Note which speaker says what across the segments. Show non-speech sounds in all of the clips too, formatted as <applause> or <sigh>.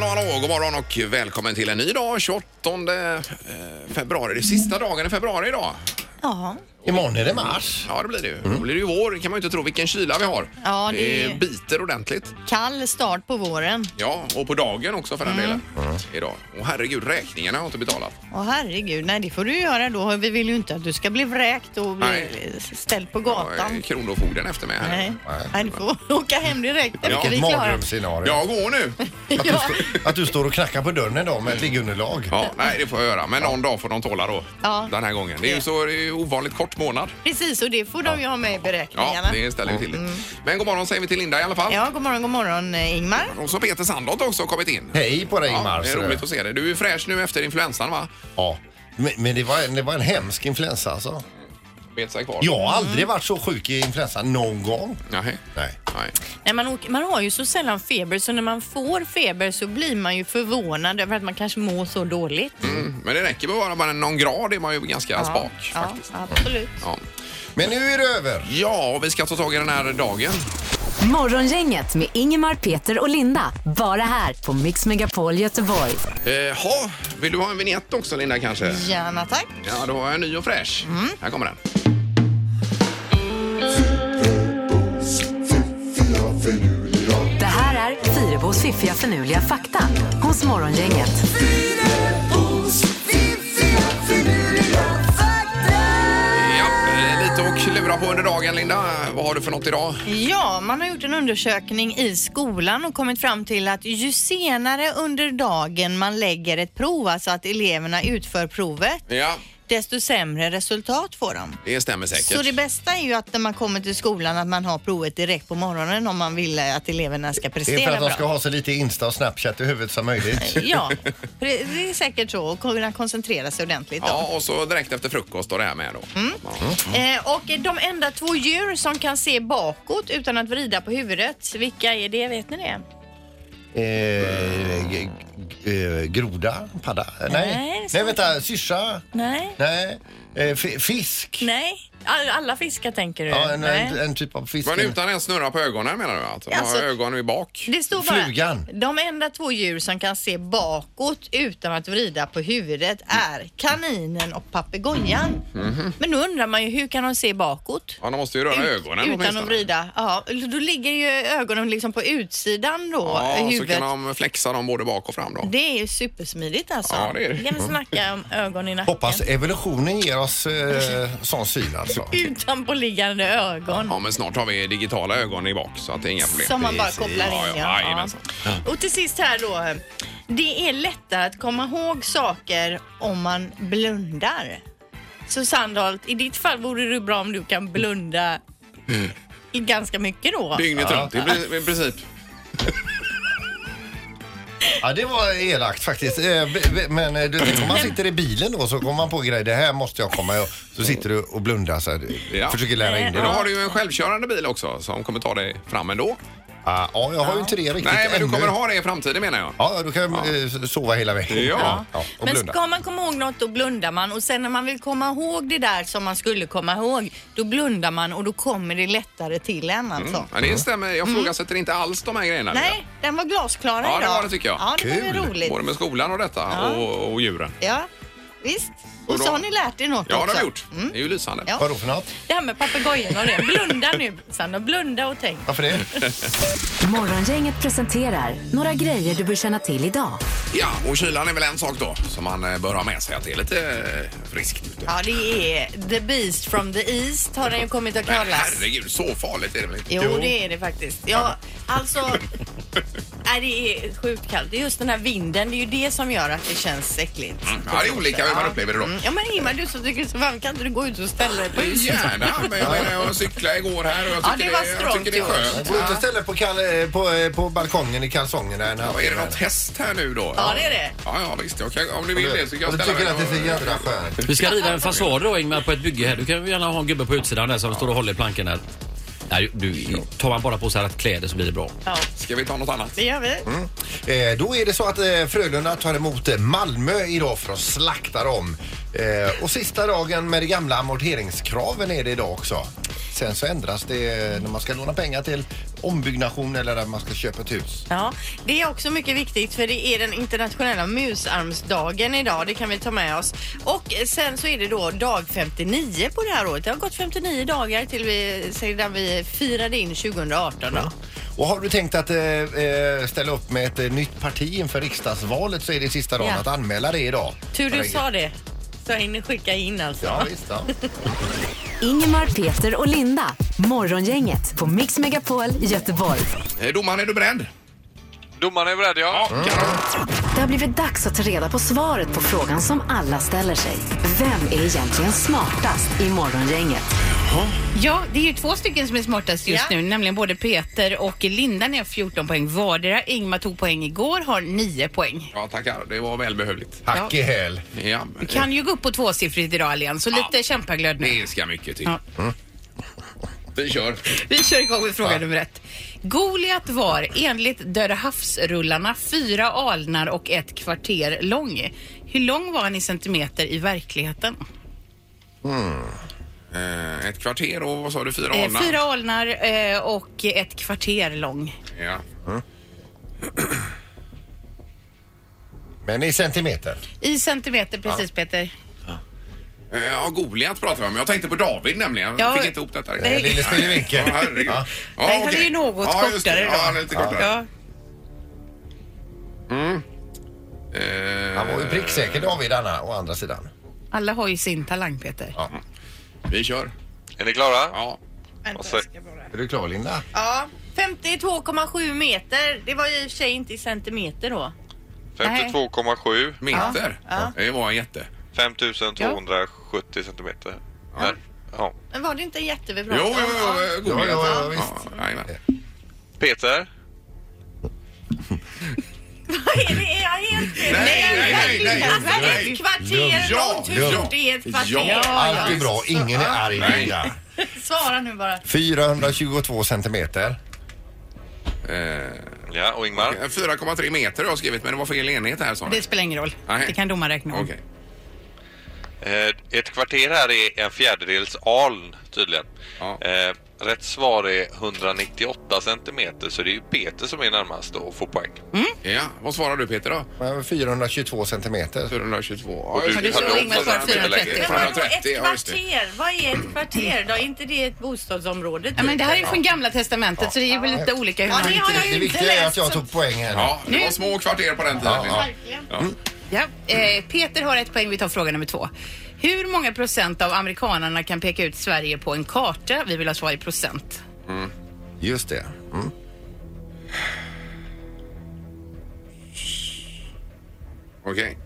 Speaker 1: morgon och välkommen till en ny dag, 28 eh, februari. Det är sista dagen i februari idag.
Speaker 2: Ja.
Speaker 3: Imorgon är det mars. Mm.
Speaker 1: Ja, det blir det ju. Då blir det ju vår. Det kan man ju inte tro vilken kyla vi har. Eh,
Speaker 2: Ja, det är ju-
Speaker 1: biter ordentligt.
Speaker 2: Kall start på våren.
Speaker 1: Ja, och på dagen också för den
Speaker 2: Mm.
Speaker 1: delen. Idag. Och herregud, räkningarna har inte betalat. Eh,
Speaker 2: Åh herregud, nej det får du göra då. Vi vill ju inte att du ska bli vräkt och bli
Speaker 1: Nej.
Speaker 2: ställd på
Speaker 1: Ja, eh,
Speaker 2: gatan.
Speaker 1: Kronofogden efter mig här.
Speaker 2: Nej. nej, du får <laughs> åka hem direkt
Speaker 1: Ja.
Speaker 2: efter vi
Speaker 1: Vilket
Speaker 2: är
Speaker 3: Ett
Speaker 2: klara.
Speaker 3: mardrömsscenario.
Speaker 1: Jag går nu.
Speaker 2: Ja.
Speaker 3: Att du står och knackar på dörren idag med ett liggunderlag.
Speaker 1: Ja, nej, det får jag göra. Men någon dag får de tåla då.
Speaker 2: Ja.
Speaker 1: Den här gången. Det är ju så det är ju ovanligt kort månad.
Speaker 2: Precis, och det får de ju ha med i
Speaker 1: Ja,
Speaker 2: beräkningarna.
Speaker 1: det ställer vi till det. Men god morgon säger vi till Linda i alla fall.
Speaker 2: Mm. Ja, god morgon, god morgon eh, Ingmar.
Speaker 1: Och så Peter Sandholt också har kommit in.
Speaker 3: Hej på dig
Speaker 1: Ja,
Speaker 3: Ingmar.
Speaker 1: det är roligt att se dig. Du är fräsch nu efter influensan va?
Speaker 3: ja. Men, men det, var en, det var en hemsk influensa alltså.
Speaker 1: Bet sig kvar.
Speaker 3: Jag har
Speaker 1: Mm.
Speaker 3: aldrig varit så sjuk i influensa någon gång.
Speaker 1: Nej.
Speaker 3: Nej.
Speaker 1: Nej.
Speaker 2: Nej, man, åker, man har ju så sällan feber så när man får feber så blir man ju förvånad över att man kanske mår så dåligt.
Speaker 1: Mm. Men det räcker med att vara bara någon grad är man ju ganska
Speaker 2: ja,
Speaker 1: spak
Speaker 2: ja,
Speaker 1: faktiskt.
Speaker 2: absolut.
Speaker 1: Ja.
Speaker 3: Men nu är det över.
Speaker 1: ja, och vi ska ta tag i den här dagen.
Speaker 4: Morgongänget med Ingemar, Peter och Linda. Bara här på Mix Megapol Göteborg.
Speaker 1: Eh, ha, vill du ha en vignett också Linda kanske?
Speaker 2: Gärna tack.
Speaker 1: Ja, då har jag en ny och fräsch.
Speaker 2: Mm.
Speaker 1: Här kommer den.
Speaker 4: Det här är Fyrebos fiffiga förnuliga fakta hos Morgongänget.
Speaker 1: Ja, eh, lite att klura på under dagen Linda. Vad har du för något idag?
Speaker 2: Ja, man har gjort en undersökning i skolan och kommit fram till att ju senare under dagen man lägger ett prov, alltså att eleverna utför provet,
Speaker 1: Ja,
Speaker 2: desto sämre resultat får de.
Speaker 1: det stämmer säkert.
Speaker 2: Så det bästa är ju att när man kommer till skolan att man har provet direkt på morgonen om man vill eh, att eleverna ska
Speaker 3: Det är för
Speaker 2: prestera
Speaker 3: att de
Speaker 2: bra.
Speaker 3: ska ha så lite Insta och Snapchat i huvudet som möjligt.
Speaker 2: Ja, det- det är säkert så. Och kunna koncentrera sig ordentligt. då.
Speaker 1: Ja, och så direkt efter frukost då det här med då.
Speaker 2: Mm.
Speaker 1: Ja.
Speaker 2: Eh, och de enda två djur som kan se bakåt utan att vrida på huvudet, vilka är det? Vet ni det?
Speaker 3: Eh, g- g- eh, groda? Padda?
Speaker 2: Nej, det
Speaker 3: Nej.
Speaker 2: står
Speaker 3: Nej, vänta. Syrsa?
Speaker 2: Nej.
Speaker 3: Nej. Eh, fi- fisk?
Speaker 2: Nej, all, alla fiskar tänker du?
Speaker 3: Ja, en,
Speaker 2: Nej.
Speaker 3: en, en typ av fisk.
Speaker 1: Men utan ens snurra på ögonen menar du? Alltså,
Speaker 2: Alltså-
Speaker 1: ha ögonen i bak?
Speaker 2: Det står bara,
Speaker 3: Flugan.
Speaker 2: de enda två djur som kan se bakåt utan att vrida på huvudet är kaninen och papegojan.
Speaker 1: Mhm.
Speaker 2: Men då undrar man ju, hur kan de se bakåt?
Speaker 1: Ja, de måste ju röra
Speaker 2: Ut-
Speaker 1: ögonen
Speaker 2: utan att vrida. Ja, då ligger ju ögonen liksom på utsidan då,
Speaker 1: Ja, så
Speaker 2: huvudet.
Speaker 1: kan de flexa dem både bak och fram då.
Speaker 2: Det är ju supersmidigt alltså.
Speaker 1: Ja, det är det.
Speaker 2: Vi kan snacka om ögon i nacken.
Speaker 3: Hoppas evolutionen ger oss eh,
Speaker 1: Mm.
Speaker 3: sån syn
Speaker 1: <laughs>
Speaker 3: alltså.
Speaker 2: Utanpåliggande ögon.
Speaker 1: Ja, men snart har vi digitala ögon i bak så att det är inga problem.
Speaker 2: Som man bara
Speaker 3: Precis.
Speaker 2: kopplar in.
Speaker 1: Ja, ja, jajamensan.
Speaker 2: Och till sist här då. Det är lättare att komma ihåg saker om man blundar. Så Sandholt, i ditt fall vore det bra om du kan blunda i ganska mycket då.
Speaker 1: Dygnet runt i pri- i princip.
Speaker 3: Ja, det var elakt faktiskt. Eh, b- b- Men eh, du vet, om man sitter i bilen då så kommer man på grejer. Det här måste jag komma ihåg. Så sitter du och blundar så här. Du
Speaker 1: Ja.
Speaker 3: Försöker lära in
Speaker 1: Men
Speaker 3: dig.
Speaker 1: då
Speaker 3: då.
Speaker 1: har du ju en självkörande bil också som kommer ta dig fram ändå.
Speaker 3: Ah, Ja, jag har ju inte det riktigt
Speaker 1: Nej, men du
Speaker 3: ännu.
Speaker 1: kommer ha det i framtiden menar jag.
Speaker 3: Ja, du kan eh, sova hela veckan.
Speaker 1: Ja.
Speaker 3: och
Speaker 2: Men
Speaker 3: blunda.
Speaker 2: ska man komma ihåg något då blundar man och sen när man vill komma ihåg det där som man skulle komma ihåg då blundar man och då kommer det lättare till en alltså.
Speaker 1: Mm. Ja, det stämmer. Jag frågasätter inte alls de här grejerna. Linda.
Speaker 2: Nej, den var glasklar
Speaker 1: Ja, det
Speaker 2: idag.
Speaker 1: var det, tycker jag.
Speaker 2: Ja, det var
Speaker 3: Kul.
Speaker 2: ju roligt.
Speaker 1: Både med skolan och detta och, och djuren.
Speaker 2: Ja, visst.
Speaker 1: Och
Speaker 2: Och
Speaker 1: då-
Speaker 2: så har ni lärt er något
Speaker 1: Ja, det
Speaker 2: också. Mm.
Speaker 1: har vi gjort. Det är ju lysande.
Speaker 2: Ja.
Speaker 3: Vadå för något?
Speaker 2: Det här med papegojan och det. Blunda nu Sandra, blunda och tänk.
Speaker 1: <laughs>
Speaker 3: Varför det?
Speaker 4: Morgongänget presenterar några grejer du bör känna till idag.
Speaker 1: Ja, och kylan är väl en sak då som man eh, bör ha med sig att det är lite eh, friskt ute.
Speaker 2: Ja, det är The Beast from the East har den ju kommit att
Speaker 1: Men
Speaker 2: kallas.
Speaker 1: herregud, så farligt är det väl inte?
Speaker 2: Jo, det är det faktiskt. Ja,
Speaker 1: <laughs>
Speaker 2: alltså... Nej, det är sjukt kallt. Det är just den här vinden, det är ju det som gör att det känns äckligt.
Speaker 1: Mm, Ja, det är olika hur man upplever det då.
Speaker 2: Mm. Ja, men Ingmar, du som tycker det är så varmt, kan inte du gå ut och ställa dig på huset?
Speaker 1: Gärna, men jag, menar, jag cyklade igår här och jag
Speaker 2: Ja,
Speaker 1: tycker,
Speaker 2: det var
Speaker 1: jag tycker det är
Speaker 2: strongt
Speaker 1: skönt.
Speaker 3: Gå ut och ställ dig på, kal- eh, på, eh, på balkongen i kalsongerna en
Speaker 1: Ja, är det något
Speaker 3: halvtimme.
Speaker 1: häst här nu då?
Speaker 2: Ja, det är det.
Speaker 1: Ja, ja visst. Jag kan, om ni vill det så kan jag
Speaker 3: Och du
Speaker 1: ställa
Speaker 3: tycker
Speaker 1: mig
Speaker 3: att det är så
Speaker 1: och-
Speaker 3: jädra skönt.
Speaker 5: Vi ska riva en fasad då Ingmar på ett bygge här. Du kan ju gärna ha en gubbe på utsidan där som står och håller i planken här. Nej, du, tar man bara på sig rätt kläder så blir det bra.
Speaker 2: Ja,
Speaker 1: Ska vi ta något annat?
Speaker 2: det gör vi.
Speaker 1: Mm.
Speaker 3: Eh, då är det så att eh, Frölunda tar emot eh, Malmö idag för att slakta dem. Eh, och sista dagen med de gamla amorteringskraven är det idag också. Sen så ändras det eh, när man ska låna pengar till ombyggnation eller när man ska köpa ett hus.
Speaker 2: Ja, det är också mycket viktigt för det är den internationella musarmsdagen idag. Det kan vi ta med oss. Och sen så är det då dag 59 på det här året. Det har gått 59 dagar till vi, sedan vi firade in 2018. Då.
Speaker 3: Och har du tänkt att eh, eh, ställa upp med ett eh, nytt parti inför riksdagsvalet så är det sista dagen
Speaker 2: Ja.
Speaker 3: att anmäla det idag.
Speaker 2: Tur du
Speaker 3: Herregud.
Speaker 2: sa det. Så jag hinner skicka in alltså.
Speaker 3: Ja, visst.
Speaker 2: <laughs>
Speaker 3: Ja.
Speaker 4: Ingemar, Peter och Linda. Morgongänget på Mix Megapol Göteborg.
Speaker 1: Eh, Domaren, är du beredd?
Speaker 6: Domaren är beredd, ja.
Speaker 4: Det har blivit dags att ta reda på svaret på frågan som alla ställer sig. Vem är egentligen smartast i Morgongänget?
Speaker 7: Ja, det är ju två stycken som är smartast just
Speaker 2: Ja.
Speaker 7: nu, nämligen både Peter och Linda. Ni har 14 poäng vardera. Ingmar tog poäng igår, har 9 poäng.
Speaker 1: Ja, tackar. Det var välbehövligt.
Speaker 3: Hack i häl.
Speaker 1: Ja,
Speaker 7: Kan ju gå upp på tvåsiffrigt idag Alén, så lite kämpaglöd nu.
Speaker 1: det ska mycket till.
Speaker 7: Ja.
Speaker 1: Vi kör.
Speaker 7: Vi kör igång med fråga nummer ett. Goliat var enligt Döda havsrullarna fyra alnar och ett kvarter lång. Hur lång var han i centimeter i verkligheten?
Speaker 1: Eh, Ett kvarter och vad sa du, fyra
Speaker 7: Eh,
Speaker 1: alnar?
Speaker 7: fyra alnar eh, och ett kvarter lång.
Speaker 1: Ja.
Speaker 3: Men i centimeter.
Speaker 7: I centimeter precis Peter.
Speaker 1: Eh, Ja, Goliat pratar vi om. Jag tänkte på David nämligen. Jag
Speaker 7: Ja.
Speaker 1: fick inte ihop detta
Speaker 7: Nej.
Speaker 3: Lille
Speaker 1: Ja,
Speaker 3: Spillevinkel.
Speaker 1: herregud.
Speaker 3: Ja.
Speaker 1: Ja,
Speaker 7: Nej, han
Speaker 1: okej.
Speaker 7: är ju något
Speaker 1: ja, just det.
Speaker 7: kortare då.
Speaker 1: Ja, han är lite kortare.
Speaker 7: Ja.
Speaker 1: Eh,
Speaker 3: Han var ju pricksäker David Anna, å andra sidan.
Speaker 7: Alla har ju sin talang Peter.
Speaker 1: Vi kör.
Speaker 6: Är ni klara?
Speaker 1: Ja.
Speaker 2: Vänta,
Speaker 6: så-
Speaker 2: jag ska bara-
Speaker 3: Är du klar Linda?
Speaker 2: Ja, 52,7 meter. Det var ju i och för sig inte i centimeter då.
Speaker 6: 52,7.
Speaker 1: Meter.
Speaker 2: Ja.
Speaker 1: Det var en jätte.
Speaker 6: 5270 centimeter. Ja. Ja.
Speaker 2: Men var det inte en jätte vi
Speaker 1: Jo,
Speaker 2: pratade
Speaker 1: jo,
Speaker 2: om?
Speaker 1: jo.
Speaker 2: Ja.
Speaker 1: eh, Goliat.
Speaker 3: Ja, ja, ja, visst.
Speaker 1: Ja, jajamän.
Speaker 6: Peter?
Speaker 2: Är det- är jag helt fel?
Speaker 1: Nej, nej, nej, nej.
Speaker 2: Alltså,
Speaker 1: Nej.
Speaker 2: ett kvarter
Speaker 1: Ja,
Speaker 2: långt. Hur
Speaker 1: ja.
Speaker 2: stort är ett kvarter?
Speaker 1: Ja.
Speaker 3: Allt är bra, ingen är arg
Speaker 1: Nej.
Speaker 3: Linda.
Speaker 2: Svara nu bara.
Speaker 3: 422 centimeter.
Speaker 6: Ja, och Ingmar?
Speaker 1: Eh, 4,3 meter har jag skrivit, men det var fel enhet här sa ni.
Speaker 7: Det spelar ingen roll.
Speaker 1: Nej.
Speaker 7: Det kan domaren räkna om.
Speaker 1: Okej.
Speaker 6: Eh, ett kvarter här är en fjärdedels aln tydligen.
Speaker 1: Ja.
Speaker 6: Eh, rätt svar är 198 centimeter så det är ju Peter som är närmast och får poäng.
Speaker 8: Mm.
Speaker 1: Ja, vad svarar du Peter då?
Speaker 3: Men 422 centimeter.
Speaker 1: 422.
Speaker 6: Och du
Speaker 1: just det.
Speaker 6: hade
Speaker 7: slår in med
Speaker 1: Ja,
Speaker 7: svar 430.
Speaker 2: Men vadå
Speaker 1: 430,
Speaker 2: ett
Speaker 1: ja, just det.
Speaker 2: kvarter? Vad är ett kvarter då? Är inte det ett bostadsområde?
Speaker 7: Ja, men det här är ju
Speaker 2: typ?
Speaker 7: från Gamla Testamentet så det är väl lite olika hur
Speaker 2: Ja,
Speaker 7: man...
Speaker 2: det har jag
Speaker 3: Det
Speaker 2: ju inte
Speaker 3: viktiga är att
Speaker 2: läst.
Speaker 3: jag
Speaker 2: så-
Speaker 3: tog poängen.
Speaker 1: Ja, det var små kvarter på den tiden.
Speaker 3: Ja,
Speaker 2: Verkligen.
Speaker 1: Ja.
Speaker 7: Ja. Eh, Peter har ett poäng. Vi tar fråga nummer två. Hur många procent av amerikanarna kan peka ut Sverige på en karta? Vi vill ha svar i procent.
Speaker 3: Just det. Mm.
Speaker 1: Okej.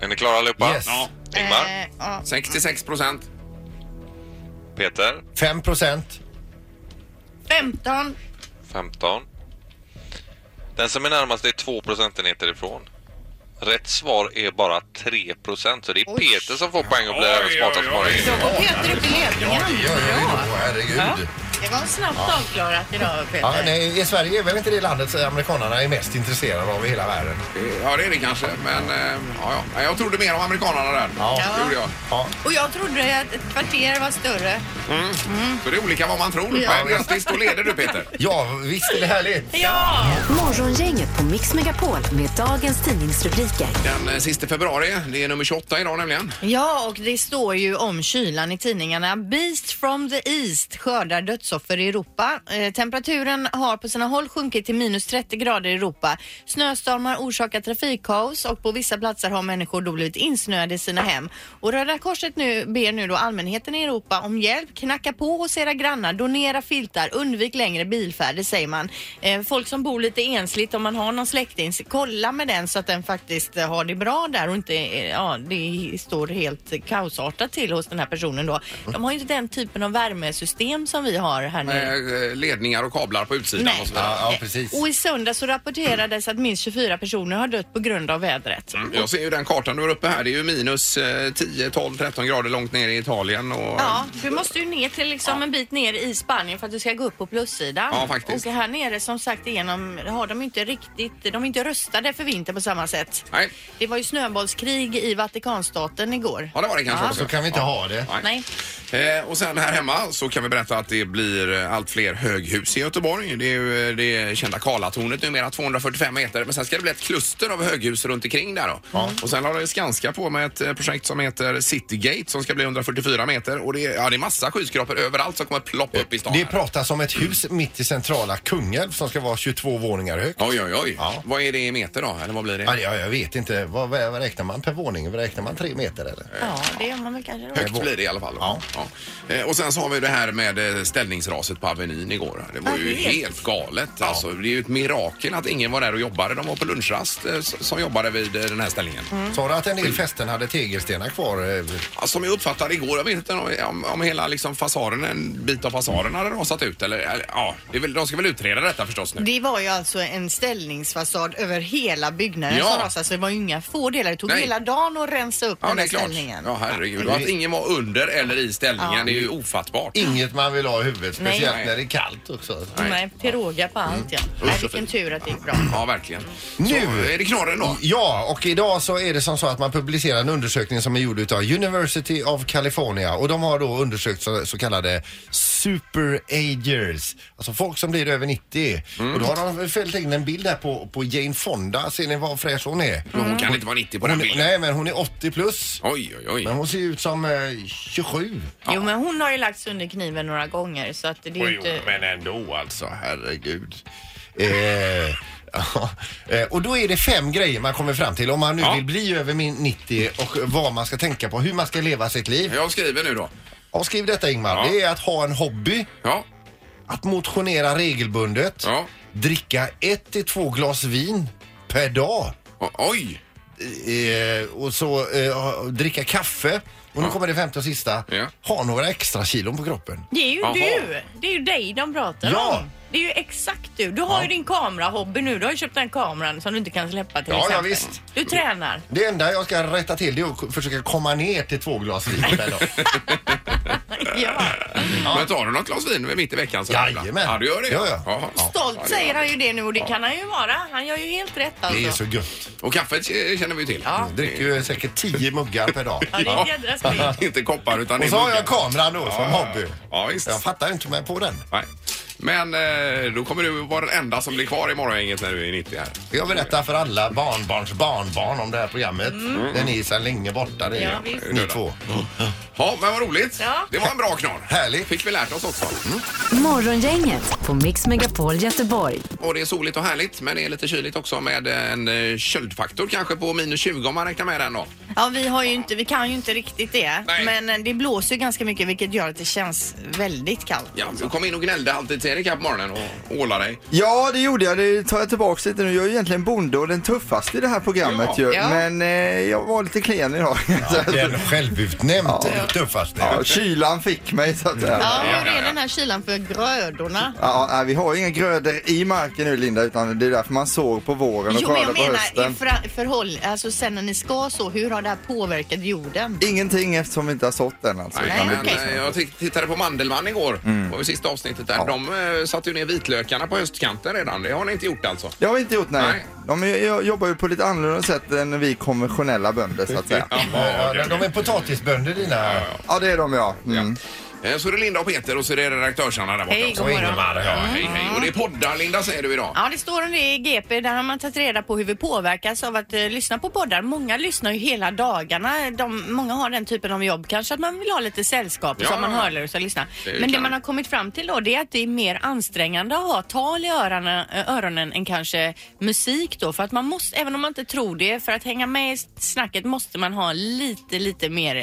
Speaker 6: Är ni klara allihopa?
Speaker 3: Yes.
Speaker 1: Ja.
Speaker 6: Ingmar?
Speaker 2: Eh, ja.
Speaker 1: 66 procent.
Speaker 6: Peter?
Speaker 3: 5 procent.
Speaker 2: 15.
Speaker 6: 15. Den som är närmast är 2 procentenheter ifrån. Rätt svar är bara 3 procent, så det är Peter som får poäng och blir smartast morgon.
Speaker 7: Då går Peter upp i ledningen.
Speaker 3: Oj, oj, oj, då, herregud.
Speaker 2: Det var snabbt avklarat idag Peter.
Speaker 3: Ja, nej, I Sverige är väl inte det landet som amerikanerna är mest intresserade av i hela världen.
Speaker 1: Ja, det är det kanske. Men eh, ja, ja. Nej, jag trodde mer om amerikanarna där.
Speaker 3: Ja.
Speaker 1: Det gjorde jag.
Speaker 3: Ja.
Speaker 2: Och jag trodde att ett kvarter var större.
Speaker 1: Så det är olika vad man tror.
Speaker 2: Ja.
Speaker 1: Men grattis, då leder du Peter.
Speaker 3: ja, visst är det härligt.
Speaker 2: Ja!
Speaker 4: Morgongänget på Mix Megapol med dagens tidningsrubriker.
Speaker 1: Den eh, sista februari, det är nummer 28 idag nämligen.
Speaker 2: Mm. Ja, och det står ju om kylan i tidningarna. Beast from the East skördar dödsoffer i Europa. Eh, temperaturen har på sina håll sjunkit till minus 30 grader i Europa. Snöstormar orsakar trafikkaos och på vissa platser har människor då blivit insnöade i sina hem. Och Röda Korset nu ber nu då allmänheten i Europa om hjälp. Knacka på hos era grannar, donera filtar, undvik längre bilfärder säger man. Eh, folk som bor lite ensligt, om man har någon släkting, så kolla med den så att den faktiskt eh, har det bra där och inte, eh, ja, det står helt kaosartat till hos den här personen då. De har ju inte den typen av värmesystem som vi har har här nu.
Speaker 1: Med eh, ledningar och kablar på utsidan
Speaker 2: Nej.
Speaker 1: och så vidare.
Speaker 3: Ja, ja, precis.
Speaker 2: Och i söndag så rapporterades att minst 24 personer har dött på grund av vädret.
Speaker 1: Mm, Jag ser ju den kartan du har uppe här. Det är ju minus eh, 10, 12, 13 grader långt ner i Italien. Och, eh,
Speaker 2: Ja, du måste ju ner till liksom en bit ner i Spanien för att du ska gå upp på plussidan.
Speaker 1: Ja, faktiskt.
Speaker 2: Och här nere som sagt igenom har de inte riktigt, de är inte röstade för vinter på samma sätt.
Speaker 1: Nej,
Speaker 2: Det var ju snöbollskrig i Vatikanstaten igår.
Speaker 1: ja, det var det kanske
Speaker 2: Ja.
Speaker 1: också.
Speaker 3: Så kan vi inte ha det.
Speaker 2: Nej.
Speaker 1: Eh, och sen här hemma så kan vi berätta att det blir eh, allt fler höghus i Göteborg. Det är ju eh, det kända Karlatornet numera, 245 meter. Men sen ska det bli ett kluster av höghus runt omkring där då. Och sen har det Skanska på med ett eh, projekt som heter Citygate som ska bli 144 meter. Och det är, ja, det är massa skyskrapor överallt som kommer ploppa upp i stan.
Speaker 3: Det
Speaker 1: här.
Speaker 3: pratas om ett hus mitt i centrala Kungälv som ska vara 22 våningar högt.
Speaker 1: Oj, oj, oj.
Speaker 3: Ja.
Speaker 1: Vad är det i meter då? Eller vad blir det?
Speaker 3: Ja, jag, jag vet inte. Vad, vad vad räknar man per våning? Vad Räknar man tre meter eller?
Speaker 2: Ja, det gör man väl kanske då.
Speaker 1: Högt blir det i alla fall.
Speaker 3: Ja.
Speaker 1: Eh, Och sen så har vi det här med eh, ställningsraset på Avenyn igår. Det var
Speaker 2: Ja,
Speaker 1: ju
Speaker 2: helt.
Speaker 1: helt galet. Alltså, det är ju ett mirakel att ingen var där och jobbade. De var på lunchrast eh, s- som jobbade vid eh, den här ställningen.
Speaker 2: Mm.
Speaker 3: Sa du att en del fästen hade tegelstenar kvar? eh,
Speaker 1: Ja, Som jag uppfattade igår, jag vet inte om- om, om hela liksom fasaden, en bit av fasaden hade rasat ut. Eller, eller, ja, det är väl, de ska väl utreda detta förstås nu.
Speaker 2: Det var ju alltså en ställningsfasad över hela byggnaden
Speaker 1: Ja.
Speaker 2: som rasade. Så det var ju inga få delar. Det tog
Speaker 1: Nej.
Speaker 2: hela dagen att rensa upp
Speaker 1: Ja,
Speaker 2: den
Speaker 1: det är
Speaker 2: där
Speaker 1: klart.
Speaker 2: ställningen.
Speaker 1: Ja, herregud. Och att ingen var under eller i ställningen, det är ju ofattbart.
Speaker 3: Inget man vill ha i huvudet,
Speaker 2: Nej.
Speaker 3: speciellt
Speaker 1: Nej.
Speaker 3: när det är kallt också.
Speaker 1: Nej. Mm.
Speaker 2: Nej, till råga på allt ja. Nej, vilken tur att det gick bra.
Speaker 1: Ja, verkligen.
Speaker 3: Nu-
Speaker 1: Så, eh, är det knorren då?
Speaker 3: Ja, och idag så är det som så att man publicerar en undersökning som är gjord utav University of California och de har då undersökt så, så kallade superagers, alltså folk som blir över 90.
Speaker 1: Mm.
Speaker 3: Och då har de fällt in en bild här på, på Jane Fonda, ser ni vad fräsch hon är?
Speaker 1: Hon kan inte vara 90 på den
Speaker 3: Hon,
Speaker 1: bilden.
Speaker 3: nej, men hon är 80 plus.
Speaker 1: Oj, oj, oj.
Speaker 3: Men hon ser ut som eh, 27.
Speaker 2: Jo, men hon har ju lagts under kniven några gånger så att det är ju inte...
Speaker 3: men ändå alltså, herregud. Eh, <laughs> ja. Eh, och då är det fem grejer man kommer fram till om man nu
Speaker 1: Ja.
Speaker 3: vill bli över min 90 och vad man ska tänka på, hur man ska leva sitt liv.
Speaker 1: Jag skriver nu då.
Speaker 3: Ja, skriv detta Ingmar.
Speaker 1: Ja.
Speaker 3: Det är att ha en hobby,
Speaker 1: Ja,
Speaker 3: att motionera regelbundet,
Speaker 1: Ja.
Speaker 3: dricka ett till två glas vin per dag
Speaker 1: O- oj!
Speaker 3: eh, och så eh, dricka kaffe. Och nu kommer det femte och sista.
Speaker 1: Ja.
Speaker 3: Ha några extra kilon på kroppen.
Speaker 2: Det är ju
Speaker 1: Jaha.
Speaker 2: du! Det är ju dig de pratar
Speaker 3: Ja.
Speaker 2: om. Det är ju exakt du. Du har ju din kamerahobby nu. Du har ju köpt den kameran som du inte kan släppa till
Speaker 3: Ja, ja,
Speaker 2: exempel.
Speaker 3: visst.
Speaker 2: Du tränar.
Speaker 3: Det enda jag ska rätta till det är att försöka komma ner till två glas vin per dag.
Speaker 2: Ja. Mm.
Speaker 1: Men tar du något glas vin mitt i veckan? Så
Speaker 3: Jajamän.
Speaker 1: Ja, du gör det?
Speaker 3: Ja, ja.
Speaker 1: Jaha.
Speaker 2: Stolt säger han ju det nu och det kan han ju vara. Han gör ju helt rätt alltså.
Speaker 3: Det är så gött.
Speaker 1: Och kaffet eh, känner vi ju till.
Speaker 2: Ja.
Speaker 3: Jag dricker ju säkert tio muggar per dag.
Speaker 2: Ja, det är ett
Speaker 1: <laughs>
Speaker 2: jädra spel.
Speaker 1: Inte koppar utan...
Speaker 3: Och så har
Speaker 1: muggar.
Speaker 3: jag kameran då som
Speaker 1: Ja,
Speaker 3: hobby.
Speaker 1: Ja, visst.
Speaker 3: Jag fattar inte mig på den.
Speaker 1: Nej. Men eh, då kommer du vara den enda som blir kvar i morgongänget när du är 90 här.
Speaker 3: Jag berättar för alla barnbarns barnbarn om det här programmet. Den är sedan länge borta. Det är
Speaker 2: Ja, visst.
Speaker 3: ni två.
Speaker 1: Ja, men vad roligt.
Speaker 2: Ja.
Speaker 1: Det var en bra knorr.
Speaker 3: Härligt.
Speaker 1: Fick vi lärt oss också.
Speaker 3: Mm.
Speaker 4: Morgongänget på Mix Megapol Göteborg.
Speaker 1: Och det är soligt och härligt, men det är lite kyligt också med en eh, köldfaktor kanske på minus 20 om man räknar med den då.
Speaker 2: Ja, vi, har ju inte, vi kan ju inte riktigt det.
Speaker 1: Nej.
Speaker 2: Men eh, det blåser ju ganska mycket vilket gör att det känns väldigt kallt.
Speaker 1: Ja, du kom in och gnällde alltid till Erik här på morgonen och ålade dig.
Speaker 8: Ja, det gjorde jag. Det tar jag tillbaka lite nu. Jag är egentligen bonde och den tuffaste i det här programmet
Speaker 1: Ja.
Speaker 8: ju.
Speaker 2: Ja.
Speaker 8: Men eh, jag var lite klen idag. <laughs> Så att-
Speaker 3: Den självutnämnt tuffaste.
Speaker 8: ja, kylan fick mig så att säga.
Speaker 2: Ja, hur
Speaker 1: ja,
Speaker 2: är
Speaker 1: ja.
Speaker 2: den här kylan för grödorna?
Speaker 8: Ja, nej, vi har ju inga grödor i marken nu Linda, utan det är därför man sår på våren och
Speaker 2: Jo, men
Speaker 8: skördar
Speaker 2: jag
Speaker 8: på
Speaker 2: menar i
Speaker 8: hösten.
Speaker 2: fra- förhåll, alltså sen när ni ska så, hur har det här påverkat jorden?
Speaker 8: Ingenting eftersom vi inte har sått än alltså.
Speaker 1: Nej,
Speaker 8: utan det
Speaker 1: men,
Speaker 8: blir
Speaker 1: eh,
Speaker 8: som-
Speaker 1: Jag titt- tittade på Mandelmann igår. Det var ju sista avsnittet där. De eh, satte ju ner vitlökarna på höstkanten redan. Det har ni inte gjort alltså?
Speaker 8: Det har vi inte gjort, nej.
Speaker 1: Nej.
Speaker 8: De är- jag jobbar ju på lite annorlunda sätt än vi konventionella bönder så att säga.
Speaker 3: Ja, de är potatisbönder dina.
Speaker 8: Ja, det är de ja. Mm.
Speaker 1: Eh, Så är det Linda och Peter och så är det redaktörsarna där borta.
Speaker 2: Hej,
Speaker 1: också.
Speaker 2: god morgon.
Speaker 3: Ingemar,
Speaker 1: Ja, hej, hej. Och det är poddar Linda säger du idag.
Speaker 2: Ja, det står om det i GP. Där har man tagit reda på hur vi påverkas av att eh, lyssna på poddar. Många lyssnar ju hela dagarna. De, många har den typen av jobb kanske att man vill ha lite sällskap
Speaker 1: Ja.
Speaker 2: som man hörlurar och lyssnar.
Speaker 1: Det är ju
Speaker 2: Men det
Speaker 1: klart.
Speaker 2: man har kommit fram till då det är att det är mer ansträngande att ha tal i öronen, eh, öronen än kanske musik då. För att man måste, även om man inte tror det, för att hänga med i snacket måste man ha lite, lite mer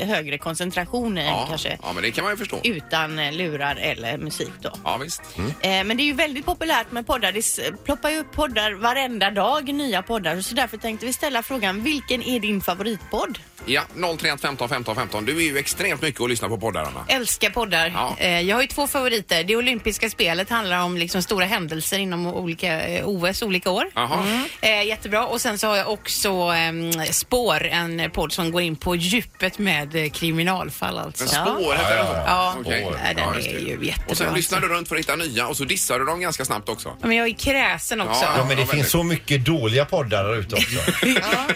Speaker 2: eh, högre koncentration än
Speaker 1: Ja,
Speaker 2: kanske
Speaker 1: ja, men det kan kan man ju förstå.
Speaker 2: utan eh, lurar eller musik då.
Speaker 1: Ja, visst.
Speaker 2: Eh, Men det är ju väldigt populärt med poddar. Det s- ploppar ju upp poddar varenda dag, nya poddar. Så därför tänkte vi ställa frågan, vilken är din favoritpodd?
Speaker 1: Ja, 031 15 15 15. Du är ju extremt mycket att lyssna på poddar, Anna.
Speaker 7: Älskar poddar.
Speaker 1: Ja.
Speaker 7: Eh, Jag har ju två favoriter. Det olympiska spelet handlar om liksom stora händelser inom olika eh, OS olika år.
Speaker 1: Jaha.
Speaker 7: Eh, jättebra. Och sen så har jag också ehm, Spår, en podd som går in på djupet med eh, kriminalfall alltså.
Speaker 1: Men spår heter den så?
Speaker 7: Ja.
Speaker 1: Okej.
Speaker 7: Ja, den
Speaker 1: just det.
Speaker 7: är ju jättebra,
Speaker 1: Och sen
Speaker 7: alltså.
Speaker 1: lyssnar du runt för att hitta nya och så dissar du dem ganska snabbt också.
Speaker 7: Ja, Men jag är kräsen också.
Speaker 1: Ja,
Speaker 3: Ja,
Speaker 7: <laughs> Ja,
Speaker 3: men det
Speaker 1: Ja,
Speaker 3: finns så mycket dåliga poddar där ute också.